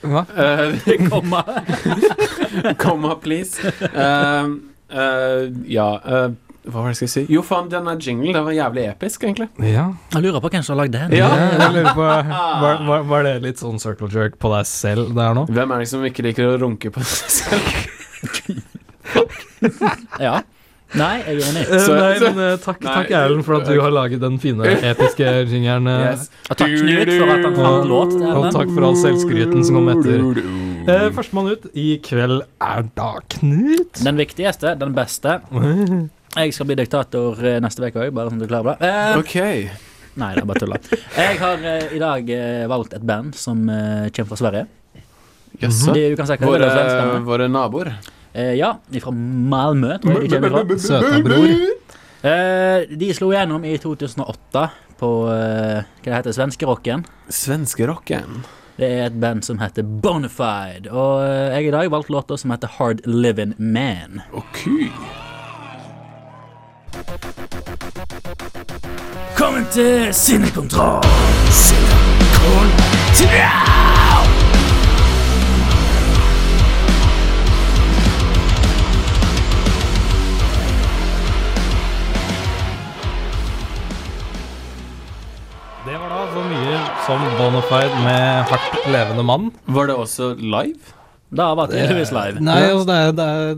[SPEAKER 3] Hva?
[SPEAKER 4] Eh,
[SPEAKER 5] Komma.
[SPEAKER 4] Komma, please. Eh, eh, ja eh, Hva var det jeg skulle si? Jo, faen, den der jinglen den var jævlig episk, egentlig.
[SPEAKER 3] Ja,
[SPEAKER 5] Jeg lurer på hvem som har lagd den.
[SPEAKER 4] Ja.
[SPEAKER 3] jeg lurer på var, var, var det litt sånn circle jerk på deg selv der nå?
[SPEAKER 4] Hvem er det som ikke liker å runke på seg selv?
[SPEAKER 5] Ja. Nei, jeg er enig.
[SPEAKER 4] Så-
[SPEAKER 3] nei,
[SPEAKER 4] så-
[SPEAKER 3] men eh, takk,
[SPEAKER 4] Nei.
[SPEAKER 3] takk Erlend for at du har laget den fine, episke jingeren. eh,
[SPEAKER 4] Yes.
[SPEAKER 5] Og takk Knut for at han har låt.
[SPEAKER 3] Og
[SPEAKER 5] Erlend.
[SPEAKER 3] Eh, takk for all selvskryten som kom etter. Eh, Førstemann ut i kveld er da Knut.
[SPEAKER 5] Den viktigste, den beste. Jeg skal bli diktator eh, neste uke òg, bare sånn at du klarer det. Eh,
[SPEAKER 4] OK.
[SPEAKER 5] Nei, det er bare tulla. Jeg har eh, i dag eh, valgt et band som eh, kommer fra Sverige.
[SPEAKER 4] Jaså.
[SPEAKER 3] Mhm.
[SPEAKER 5] De, du kan si hva det
[SPEAKER 4] Våre,
[SPEAKER 5] er svensk band.
[SPEAKER 4] våre naboer.
[SPEAKER 5] Eh, ja, fra Malmö, tror jeg de kommer fra.
[SPEAKER 3] Søta bror.
[SPEAKER 5] Eh, de slo gjennom i 2008 på eh, hva det heter, svenskerocken.
[SPEAKER 4] Svenskerocken.
[SPEAKER 5] Det er et band som heter Bonafide. Og eh, jeg i dag valgte låta som heter Hard Livin' Man.
[SPEAKER 4] OK.
[SPEAKER 5] Velkommen til Sinnekontroll!
[SPEAKER 3] Det var da så mye som Bonafide med hardt levende mann.
[SPEAKER 4] Var det også live?
[SPEAKER 5] Da var tydeligvis live.
[SPEAKER 3] Nei, altså det er, det, er,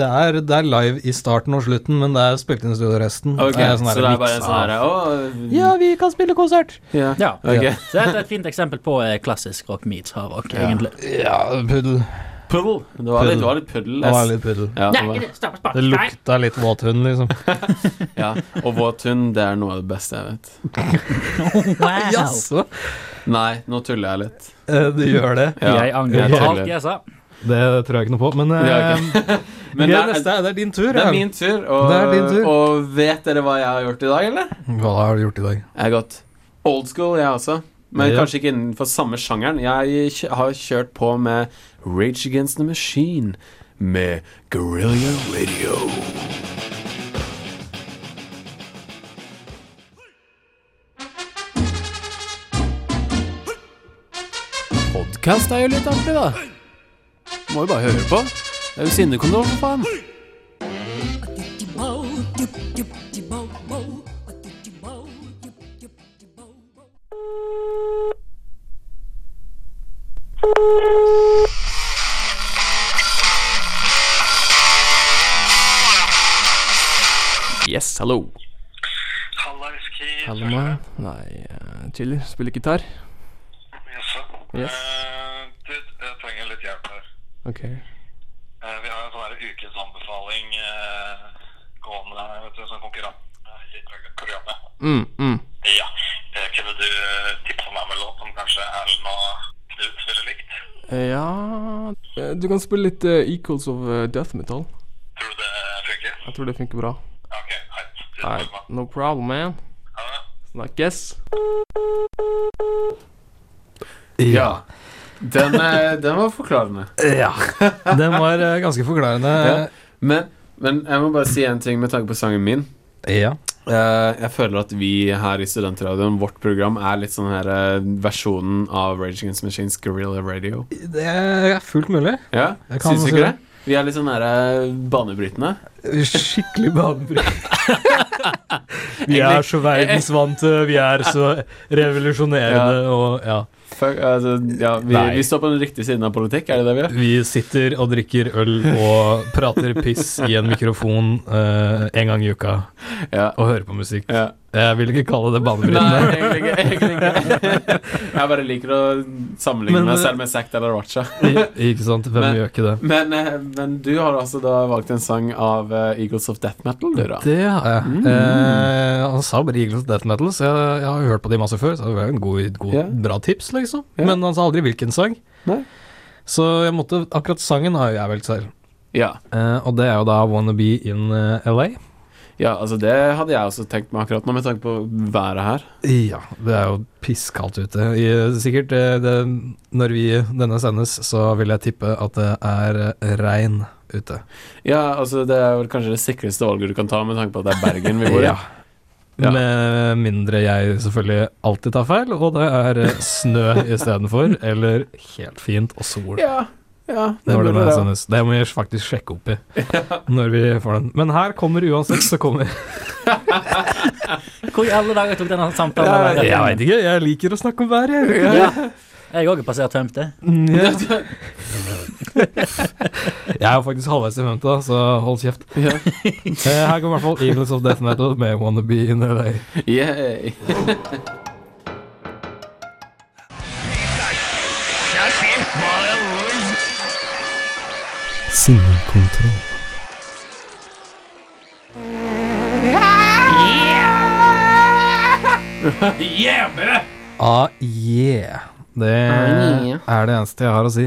[SPEAKER 3] det, er, det er live i starten og slutten, men det er spilt inn i studio resten.
[SPEAKER 4] Ok,
[SPEAKER 3] Det er sånn
[SPEAKER 4] Så
[SPEAKER 3] der
[SPEAKER 4] det er
[SPEAKER 3] mix
[SPEAKER 4] bare en sånn
[SPEAKER 3] av-
[SPEAKER 4] herre Å
[SPEAKER 3] Ja, vi kan spille konsert!
[SPEAKER 4] ja.
[SPEAKER 5] Ja.
[SPEAKER 4] Ok.
[SPEAKER 5] Så dette er et fint eksempel på eh, klassisk rock meets hardrock, egentlig.
[SPEAKER 3] Ja, puddel.
[SPEAKER 4] Puddel. Det var litt, det var litt puddel.
[SPEAKER 3] Det var
[SPEAKER 4] ass.
[SPEAKER 3] litt puddel.
[SPEAKER 4] Ja, det var,
[SPEAKER 3] Det lukta litt våthund, liksom.
[SPEAKER 4] ja. Og våt hund, det er noe av det beste jeg vet.
[SPEAKER 5] Wow!
[SPEAKER 3] Jaså?
[SPEAKER 4] Nei, nå tuller jeg litt.
[SPEAKER 3] Eh, Det gjør det.
[SPEAKER 5] Jeg angrer på alt jeg sa.
[SPEAKER 3] Det tror jeg ikke noe på. Men,
[SPEAKER 4] Ja, ok.
[SPEAKER 3] eh,
[SPEAKER 4] Men
[SPEAKER 3] det,
[SPEAKER 4] det er-
[SPEAKER 3] neste, er- det er din tur.
[SPEAKER 4] Det er
[SPEAKER 3] Erlend.
[SPEAKER 4] min tur, og,
[SPEAKER 3] Det er din tur.
[SPEAKER 4] og vet dere hva jeg har gjort i dag, eller?
[SPEAKER 3] Hva har du gjort i dag?
[SPEAKER 4] Jeg har gått old school, jeg også. Men
[SPEAKER 3] Ja.
[SPEAKER 4] kanskje ikke innenfor samme sjangeren. Jeg kj- har kjørt på med Rage Against the Machine med Guerrilla Radio.
[SPEAKER 7] Podkast er jo litt artig, da. Må jo bare høre på. Det er jo sinnekontroll, for faen. Yes, hallo.
[SPEAKER 8] Hallais, Keith.
[SPEAKER 7] Hallo, meg. Nei, eh, chiller. Spiller gitar.
[SPEAKER 8] Jaså.
[SPEAKER 7] Yes.
[SPEAKER 8] Eh, du, jeg trenger litt hjelp her.
[SPEAKER 7] OK.
[SPEAKER 8] Eh, vi har en sånn her ukens anbefaling eh, gående her, vet du, sånn konkurranse i programmet.
[SPEAKER 7] Mm, mm.
[SPEAKER 8] Ja. Eh, kunne du eh, tipse meg om en låt som kanskje Erlend og Knut ville likt?
[SPEAKER 7] Ja eh, Du kan spille litt eh, Equals of eh, Death Metal.
[SPEAKER 8] Tror du det funker?
[SPEAKER 7] Jeg tror det funker bra.
[SPEAKER 8] Ja, Ok, greit. Tusen
[SPEAKER 7] Nei,
[SPEAKER 8] takk, mann.
[SPEAKER 7] no problem, man.
[SPEAKER 8] Ha det.
[SPEAKER 7] Snakkes.
[SPEAKER 4] Ja. Den, eh, den var forklarende.
[SPEAKER 3] Ja. Den var eh, ganske forklarende.
[SPEAKER 4] Men, men jeg må bare si en ting med tanke på sangen min.
[SPEAKER 3] Ja.
[SPEAKER 4] Eh, jeg føler at vi her i Studentradioen, vårt program, er litt sånn her eh, versjonen av Rage Against the Machines Guerrilla Radio.
[SPEAKER 3] Det er fullt mulig.
[SPEAKER 4] Ja,
[SPEAKER 3] Jeg kan
[SPEAKER 4] syns du
[SPEAKER 3] si
[SPEAKER 4] ikke det?
[SPEAKER 3] det.
[SPEAKER 4] Vi er litt sånn nære banebrytende.
[SPEAKER 3] Skikkelig banebrytende. Vi er så verdensvante, vi er så revolusjonerende og ja.
[SPEAKER 4] Fuck, altså, ja, vi,
[SPEAKER 3] Nei.
[SPEAKER 4] vi står på den riktige siden av politikk, er det det vi gjør?
[SPEAKER 3] Vi sitter og drikker øl og prater piss i en mikrofon eh, en gang i uka
[SPEAKER 4] Ja.
[SPEAKER 3] og hører på musikk.
[SPEAKER 4] ja.
[SPEAKER 3] Jeg vil ikke kalle det
[SPEAKER 4] Nei,
[SPEAKER 3] banebrytende.
[SPEAKER 4] egentlig ikke. Egentlig ikke. Jeg bare liker å sammenligne
[SPEAKER 3] Men,
[SPEAKER 4] meg
[SPEAKER 3] eh,
[SPEAKER 4] selv med Zack eller Racha.
[SPEAKER 3] Ikke sant? Hvem
[SPEAKER 4] Men-
[SPEAKER 3] gjør ikke det?
[SPEAKER 4] Men, eh, men du har altså da valgt en sang av eh, Eagles of Death Metal, du, da?
[SPEAKER 3] Det Mm. har jeg. Eh, han sa bare Eagles Death Metal, så jeg, jeg har hørt på de masse før. Så det var jo en god, god,
[SPEAKER 4] Ja.
[SPEAKER 3] bra tips, liksom.
[SPEAKER 4] Ja.
[SPEAKER 3] Men han sa aldri hvilken sang.
[SPEAKER 4] Nei.
[SPEAKER 3] Så jeg måtte, akkurat sangen har jo jeg valgt selv.
[SPEAKER 4] Ja.
[SPEAKER 3] Eh, og det er jo da Wanna Be in eh, LA.
[SPEAKER 4] ja, altså det hadde jeg også tenkt meg akkurat nå, med tanke på været her.
[SPEAKER 3] Ja, det er jo pisskaldt ute. I, sikkert eh, det, når vi denne sendes, så vil jeg tippe at det er eh, regn ute.
[SPEAKER 4] Ja, altså det er vel kanskje det sikreste valget du kan ta, med tanke på at det er Bergen vi bor i.
[SPEAKER 3] Ja.
[SPEAKER 4] Ja.
[SPEAKER 3] Med mindre jeg selvfølgelig alltid tar feil, og det er eh, snø istedenfor, eller helt fint og sol.
[SPEAKER 4] Ja, ja det
[SPEAKER 3] Når
[SPEAKER 4] burde
[SPEAKER 3] den her
[SPEAKER 4] det.
[SPEAKER 3] sendes. Det må jeg faktisk sjekke opp i når vi får den. Men her kommer uansett, så kommer
[SPEAKER 5] Hvor i alle dager tok denne samtalen
[SPEAKER 4] Ja,
[SPEAKER 5] å være?
[SPEAKER 3] Jeg veit ikke, jeg liker å snakke om været, jeg.
[SPEAKER 5] Ja. Jeg òg er passert 50.
[SPEAKER 3] Ja. Jeg er faktisk halvveis i 50, da, så hold kjeft.
[SPEAKER 4] Ja.
[SPEAKER 3] Eh, Her kommer i hvert fall Eagles of Death Metal med Wanna Be in LA.
[SPEAKER 4] Yay.
[SPEAKER 9] Sinnekontroll.
[SPEAKER 3] Ah, yeah. Det er det eneste jeg har å si.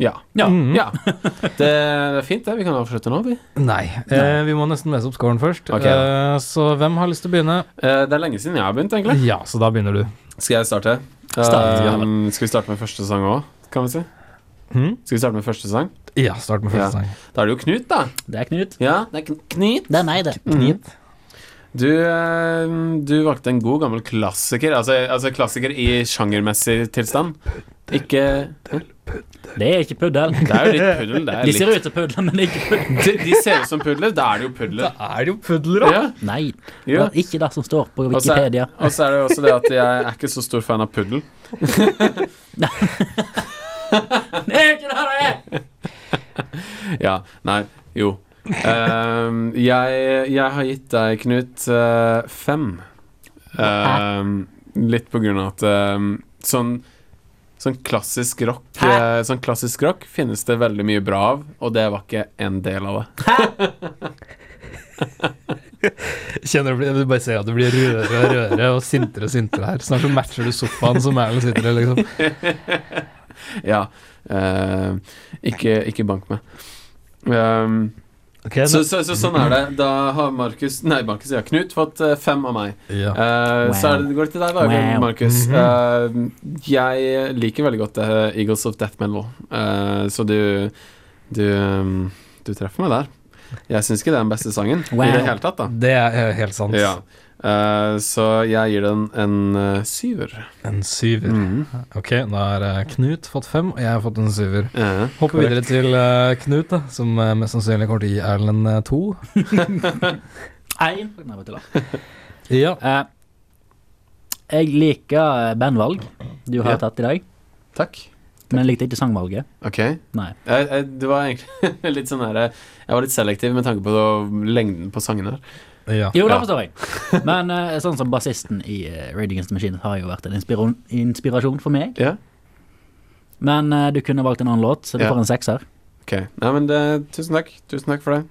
[SPEAKER 4] Ja. Mm-hmm.
[SPEAKER 5] Ja.
[SPEAKER 4] ja. Det er fint, det. Vi kan avslutte nå, vi.
[SPEAKER 3] Nei. Eh, vi må nesten lese opp scoren først.
[SPEAKER 4] Ok.
[SPEAKER 3] Eh, så hvem har lyst til å begynne?
[SPEAKER 4] Eh, Det er lenge siden jeg har begynt, egentlig.
[SPEAKER 3] Ja, så da begynner du.
[SPEAKER 4] Skal jeg starte?
[SPEAKER 5] Start, ja.
[SPEAKER 4] Um, skal vi starte med første sang òg, kan vi si?
[SPEAKER 5] Hmm?
[SPEAKER 3] Mhm.
[SPEAKER 4] Skal vi starte med første sang?
[SPEAKER 3] Ja, start med
[SPEAKER 4] Ja.
[SPEAKER 3] første sang.
[SPEAKER 4] Da er det jo Knut, da.
[SPEAKER 5] Det er Knut.
[SPEAKER 4] Ja, det er Kn- Knut.
[SPEAKER 5] Det er meg, det.
[SPEAKER 4] Mm. Du, um, du valgte en god gammel klassiker. Altså, altså klassiker i sjangermessig tilstand. Ikke
[SPEAKER 5] Det er ikke puddel.
[SPEAKER 4] Det er jo litt puddel. Det er
[SPEAKER 5] De ser
[SPEAKER 4] litt,
[SPEAKER 5] ut som pudler, men det er ikke puddel.
[SPEAKER 4] de, de ser ut som pudler. Da er det jo pudler.
[SPEAKER 3] Er det jo pudler,
[SPEAKER 4] Ja,
[SPEAKER 5] Nei, det
[SPEAKER 4] jo.
[SPEAKER 5] er ikke det som står på
[SPEAKER 4] Og så er,
[SPEAKER 5] Wikipedia.
[SPEAKER 4] og så er det jo også det at jeg er ikke så stor fan av puddel.
[SPEAKER 5] Det er ikke det det er!
[SPEAKER 4] Ja, nei, jo Ehm, jeg, jeg har gitt deg, Knut, eh, fem Ehm, Litt på grunn av at ehm, sånn, sånn klassisk rock eh, Sånn klassisk rock finnes det veldig mye bra av Og det var ikke en del av det
[SPEAKER 3] Kjenner du, blir- du bare ser at du blir rødere og rødere og sintere og sintere her. Snart så matcher du sofaen som Erlend sitter i, liksom.
[SPEAKER 4] Ja, ehm, ikke, ikke bank meg Ehm,
[SPEAKER 3] Okay,
[SPEAKER 4] så, så, så sånn er det Da har Markus, nei Markus, ja, Knut fått eh, fem av meg
[SPEAKER 3] ja.
[SPEAKER 4] Eh, Så er det, går det til deg, da,
[SPEAKER 5] Wow. Mhm.
[SPEAKER 4] Markus. Eh, jeg liker veldig godt eh, Eagles of Death Metal, Eh, så du du, eh, du treffer meg der. Jeg syns ikke det er den beste sangen
[SPEAKER 5] Wow.
[SPEAKER 4] i det hele tatt, da.
[SPEAKER 3] Det er eh, helt sant.
[SPEAKER 4] Ja. Eh, så jeg gir den en eh, syver.
[SPEAKER 3] En syver.
[SPEAKER 5] Mhm.
[SPEAKER 3] Ok, da har eh, Knut fått fem, og jeg har fått en syver.
[SPEAKER 4] Eh,
[SPEAKER 3] Hopper
[SPEAKER 4] korrekt.
[SPEAKER 3] videre til eh, Knut, da, som eh, mest sannsynlig kommer til å gi Erlend eh, to.
[SPEAKER 5] Nei, Nei, bare tuller.
[SPEAKER 3] Ja.
[SPEAKER 5] Eh, jeg liker eh, bandvalg du har
[SPEAKER 4] Ja.
[SPEAKER 5] tatt i dag,
[SPEAKER 4] Takk.
[SPEAKER 5] men jeg likte ikke sangvalget.
[SPEAKER 4] Ok.
[SPEAKER 5] Nei.
[SPEAKER 4] Jeg, jeg, det var egentlig litt sånn her eh, Jeg var litt selektiv med tanke på eh, lengden på sangene. her.
[SPEAKER 3] ja.
[SPEAKER 5] Jo, det
[SPEAKER 4] Ja.
[SPEAKER 5] forstår jeg. Men eh, sånn som bassisten i uh, Raid Against the Machine har jo vært en inspiron- inspirasjon for meg.
[SPEAKER 4] Ja.
[SPEAKER 5] Men eh, du kunne valgt en annen låt, så du
[SPEAKER 4] Ja.
[SPEAKER 5] får en sekser.
[SPEAKER 4] Ok. Nei, men det, tusen takk. Tusen takk for det.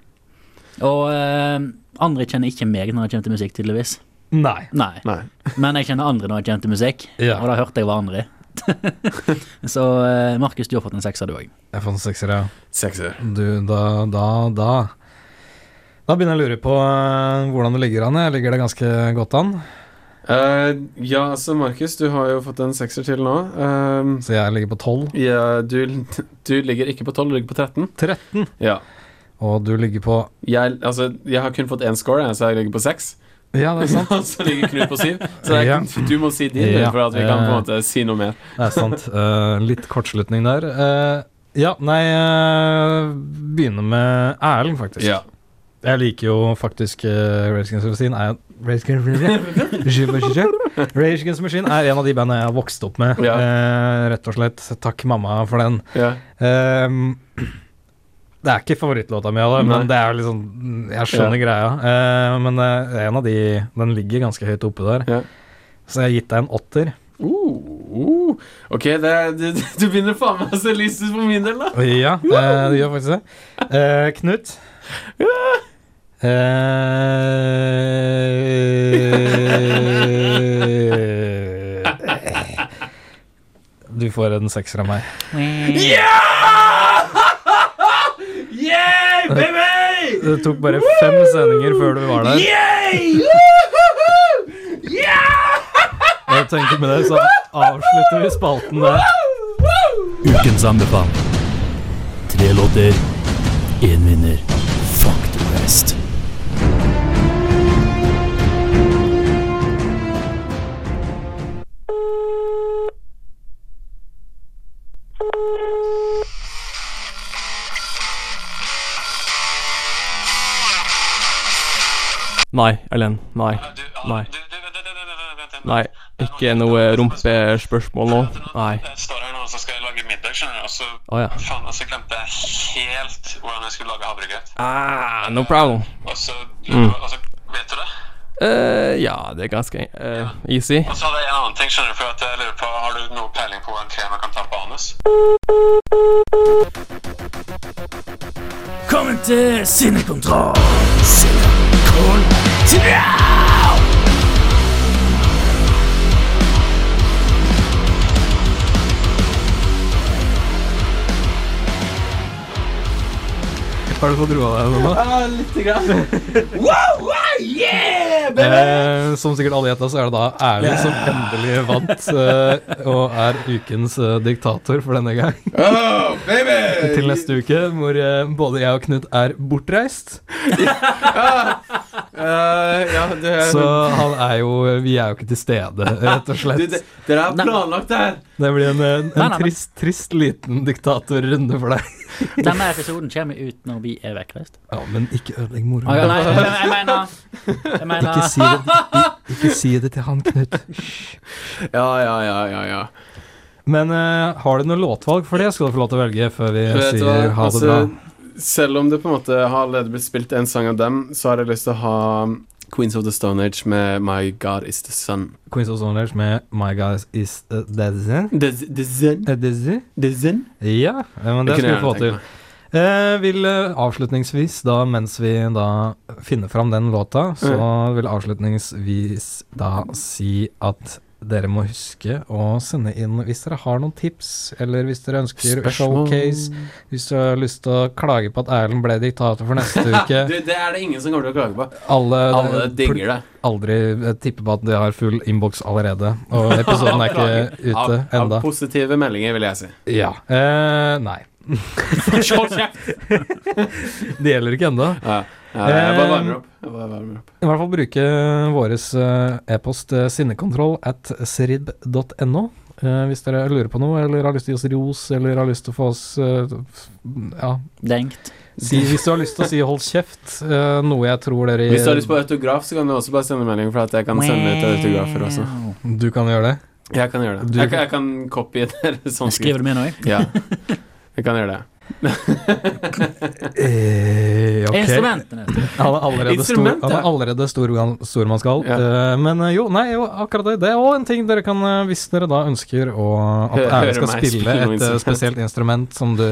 [SPEAKER 5] Og eh, andre kjenner ikke meg når jeg kommer til musikk, tydeligvis.
[SPEAKER 3] Nei.
[SPEAKER 5] Nei.
[SPEAKER 4] Nei.
[SPEAKER 5] Men jeg kjenner andre når jeg kommer til musikk,
[SPEAKER 3] Ja.
[SPEAKER 5] og da hørte jeg hva andre er. så eh, Markus, du har fått en sekser, du òg.
[SPEAKER 3] Jeg fant sekser, ja.
[SPEAKER 4] Sekser.
[SPEAKER 3] Du, da, da, da Da begynner jeg å lure på eh, hvordan det ligger an. Jeg ligger det ganske godt an,
[SPEAKER 4] Eh, ja, altså Markus, du har jo fått en sekser til nå. Eh,
[SPEAKER 3] så jeg ligger på 12.
[SPEAKER 4] ja, du, du ligger ikke på 12, du ligger på 13.
[SPEAKER 3] 13.
[SPEAKER 4] Ja.
[SPEAKER 3] Og du ligger på
[SPEAKER 4] Jeg, altså, jeg har kun fått én score, jeg, så jeg ligger på 6.
[SPEAKER 3] Ja, det er sant.
[SPEAKER 4] Og så ligger Knut på 7. Så det er,
[SPEAKER 3] Ja.
[SPEAKER 4] du må si din, du,
[SPEAKER 3] Ja.
[SPEAKER 4] for at vi kan på en
[SPEAKER 3] Eh.
[SPEAKER 4] måte si noe mer.
[SPEAKER 3] Det er sant. Eh, litt kortslutning der. Eh, Ja, nei eh, Begynner med Erlend, faktisk.
[SPEAKER 4] Ja.
[SPEAKER 3] Jeg liker jo faktisk eh, Rage Against the Machine. Er, Rage Against- Rage Against the Machine er en av de bandene jeg har vokst opp med.
[SPEAKER 4] Ja.
[SPEAKER 3] Eh, rett og slett. Takk mamma for den.
[SPEAKER 4] Ja.
[SPEAKER 3] Ehm, det er ikke favorittlåta mi av det,
[SPEAKER 4] Nei.
[SPEAKER 3] men det er jo liksom Jeg skjønner greia. Eh, men eh, en av de Den ligger ganske høyt oppe der.
[SPEAKER 4] Ja.
[SPEAKER 3] Så jeg har gitt deg en åtter.
[SPEAKER 4] Uh, uh. Ok, det er, du, du begynner faen meg å se lyst ut for min del, da.
[SPEAKER 3] Ja, eh, du gjør faktisk det. Eh, Knut? Eh, du får en sekser av meg.
[SPEAKER 4] Yeah, baby!
[SPEAKER 3] Det tok bare fem sendinger før du var der. Jeg tenker med det, så avslutter vi spalten der.
[SPEAKER 10] Ukens anbefaling. Tre låter, én vinner. Fuck the rest.
[SPEAKER 7] Nei, Ellen. Nei.
[SPEAKER 8] Du, du,
[SPEAKER 7] Nei.
[SPEAKER 8] du, vent, vent, vent, vent, vent, vent.
[SPEAKER 7] Nei. Ikke noe rumpespørsmål nå. Nei.
[SPEAKER 8] Jeg står her nå og så skal jeg lage middag, skjønner du. Og så
[SPEAKER 7] Å ja.
[SPEAKER 8] faen, og så glemte jeg helt hvordan jeg skulle lage havregrøt.
[SPEAKER 7] Ah, no problem.
[SPEAKER 8] Og så,
[SPEAKER 7] Mm.
[SPEAKER 8] og så Vet du det?
[SPEAKER 7] eh ja, det er ganske eh, easy.
[SPEAKER 8] Og så hadde jeg en annen ting, skjønner du, for at jeg lurer på Har du noe peiling på hvordan krem jeg kan ta på anus?
[SPEAKER 10] Velkommen til Sinnekontroll. Sinnekontroll!
[SPEAKER 3] Har du fått roa deg nå?
[SPEAKER 4] Ja, litt grann.
[SPEAKER 3] Eh, som sikkert alle gjetta, så er det da Erlend som endelig vant eh, og er ukens eh, diktator for denne gang.
[SPEAKER 4] Oh, baby!
[SPEAKER 3] Til neste uke, hvor eh, både jeg og Knut er bortreist.
[SPEAKER 4] Eh, ja, det er
[SPEAKER 3] Så han er jo Vi er jo ikke til stede, rett og
[SPEAKER 4] du,
[SPEAKER 3] slett.
[SPEAKER 4] det, Dere har planlagt det her.
[SPEAKER 3] Det blir en, eh, en,
[SPEAKER 5] Nei, nei,
[SPEAKER 3] en
[SPEAKER 5] men-
[SPEAKER 3] trist, trist liten diktatorrunde for deg.
[SPEAKER 5] Denne episoden kommer ut når vi er vekkreist.
[SPEAKER 3] Ja, men ikke
[SPEAKER 5] Å,
[SPEAKER 3] ødelegg
[SPEAKER 5] ja,
[SPEAKER 3] moroa.
[SPEAKER 5] nei, jeg mener Jeg mener
[SPEAKER 3] Ikke si det, i- ikke si det til han, Knut.
[SPEAKER 4] Ja, ja, ja, ja, ja.
[SPEAKER 3] Men eh, har du noe låtvalg for det? Skal du få lov til å velge før vi
[SPEAKER 4] Du vet
[SPEAKER 3] sier
[SPEAKER 4] hva,
[SPEAKER 3] ha det
[SPEAKER 4] altså,
[SPEAKER 3] bra?
[SPEAKER 4] Selv om det på en måte har allerede blitt spilt en sang av dem, så har jeg lyst til å ha Queens of the Stone Age med My God Is The Sun.
[SPEAKER 3] Queens of Stone Age med My Guys Is uh, Dizzy.
[SPEAKER 4] The, the Sun?
[SPEAKER 3] Uh, Dizzy?
[SPEAKER 4] The Sun?
[SPEAKER 3] Ja, eh, men det
[SPEAKER 4] Det kunne
[SPEAKER 3] skal
[SPEAKER 4] jeg
[SPEAKER 3] vi få
[SPEAKER 4] gjerne
[SPEAKER 3] til.
[SPEAKER 4] tenkt
[SPEAKER 3] Eh, vil eh, avslutningsvis, da mens vi da finner fram den låta, så
[SPEAKER 4] Mm.
[SPEAKER 3] vil avslutningsvis da si at dere må huske å sende inn hvis dere har noen tips, eller hvis dere ønsker
[SPEAKER 4] Spørsmål.
[SPEAKER 3] showcase, hvis dere har lyst til å klage på at Erlend ble diktator for neste uke
[SPEAKER 4] Du, det er det ingen som kommer til å klage på.
[SPEAKER 3] Alle,
[SPEAKER 4] Alle digger det.
[SPEAKER 3] aldri eh, tippe på at de har full innboks allerede, og episoden er ikke
[SPEAKER 4] Av,
[SPEAKER 3] ute
[SPEAKER 4] av
[SPEAKER 3] enda.
[SPEAKER 4] positive meldinger, vil jeg si.
[SPEAKER 3] Ja. Eh, nei. Det gjelder ikke enda.
[SPEAKER 4] Ja, ja, jeg bare
[SPEAKER 3] Eh,
[SPEAKER 4] varmer opp. Jeg bare varmer opp.
[SPEAKER 3] I hvert fall bruke våres eh, e-post eh, sinnekontroll at srib.no. eh, hvis dere lurer på noe, eller har lyst til å gi oss ros, eller har lyst til å få oss eh, f- Ja,
[SPEAKER 5] Denkt.
[SPEAKER 3] si, hvis du har lyst til å si 'hold kjeft', eh, noe jeg tror dere
[SPEAKER 4] Hvis du har lyst på autograf, så kan du også bare sende melding, for at jeg kan sende ut autografer også.
[SPEAKER 5] Wow.
[SPEAKER 3] Du kan gjøre det.
[SPEAKER 4] Jeg kan gjøre det.
[SPEAKER 3] Du-
[SPEAKER 4] Jeg kan, jeg kan copy deres håndskrift.
[SPEAKER 5] Skriver du med nå? jeg?
[SPEAKER 4] Ja. Jeg kan gjøre det.
[SPEAKER 3] Eh, ok.
[SPEAKER 5] Instrumentene.
[SPEAKER 3] Han er allerede, stor,
[SPEAKER 4] Instrument,
[SPEAKER 3] han
[SPEAKER 4] ja.
[SPEAKER 3] er allerede stor, stor man skal.
[SPEAKER 4] Ja.
[SPEAKER 3] Eh, men eh, jo, nei, jo, akkurat det. Det er òg en ting dere kan, eh, hvis dere da ønsker å, at
[SPEAKER 4] Hø-
[SPEAKER 3] Erle
[SPEAKER 4] høre
[SPEAKER 3] skal
[SPEAKER 4] meg
[SPEAKER 3] spille
[SPEAKER 4] spille noe
[SPEAKER 3] et eh,
[SPEAKER 4] instrument.
[SPEAKER 3] spesielt instrument som du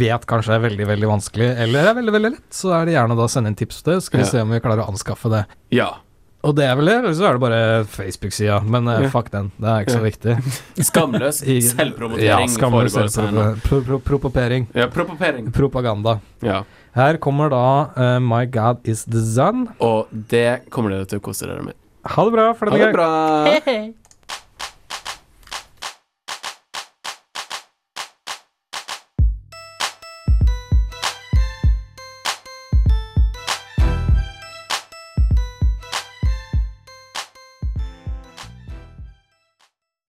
[SPEAKER 3] vet kanskje er veldig veldig vanskelig, eller er veldig veldig lett, så er det gjerne da å sende inn tips til det, så skal vi
[SPEAKER 4] Ja.
[SPEAKER 3] se om vi klarer å anskaffe det.
[SPEAKER 4] Ja.
[SPEAKER 3] Og det er vel det, eller så er det bare Facebook-sida. Men eh,
[SPEAKER 4] Ja.
[SPEAKER 3] fuck den, det er ikke så viktig.
[SPEAKER 4] Skamløs
[SPEAKER 3] I- Ja,
[SPEAKER 4] selvpromotering
[SPEAKER 3] skamløs
[SPEAKER 4] foregår her nå.
[SPEAKER 3] selvpropo- pro- pro- propopering.
[SPEAKER 4] Ja, propopering.
[SPEAKER 3] Propaganda.
[SPEAKER 4] Ja.
[SPEAKER 3] Her kommer da eh, My God Is The Sun.
[SPEAKER 4] Og det kommer dere til å kose dere med.
[SPEAKER 3] Ha det bra for
[SPEAKER 4] Ha
[SPEAKER 3] denne
[SPEAKER 4] det
[SPEAKER 3] gang.
[SPEAKER 4] bra.
[SPEAKER 5] Hei, hei.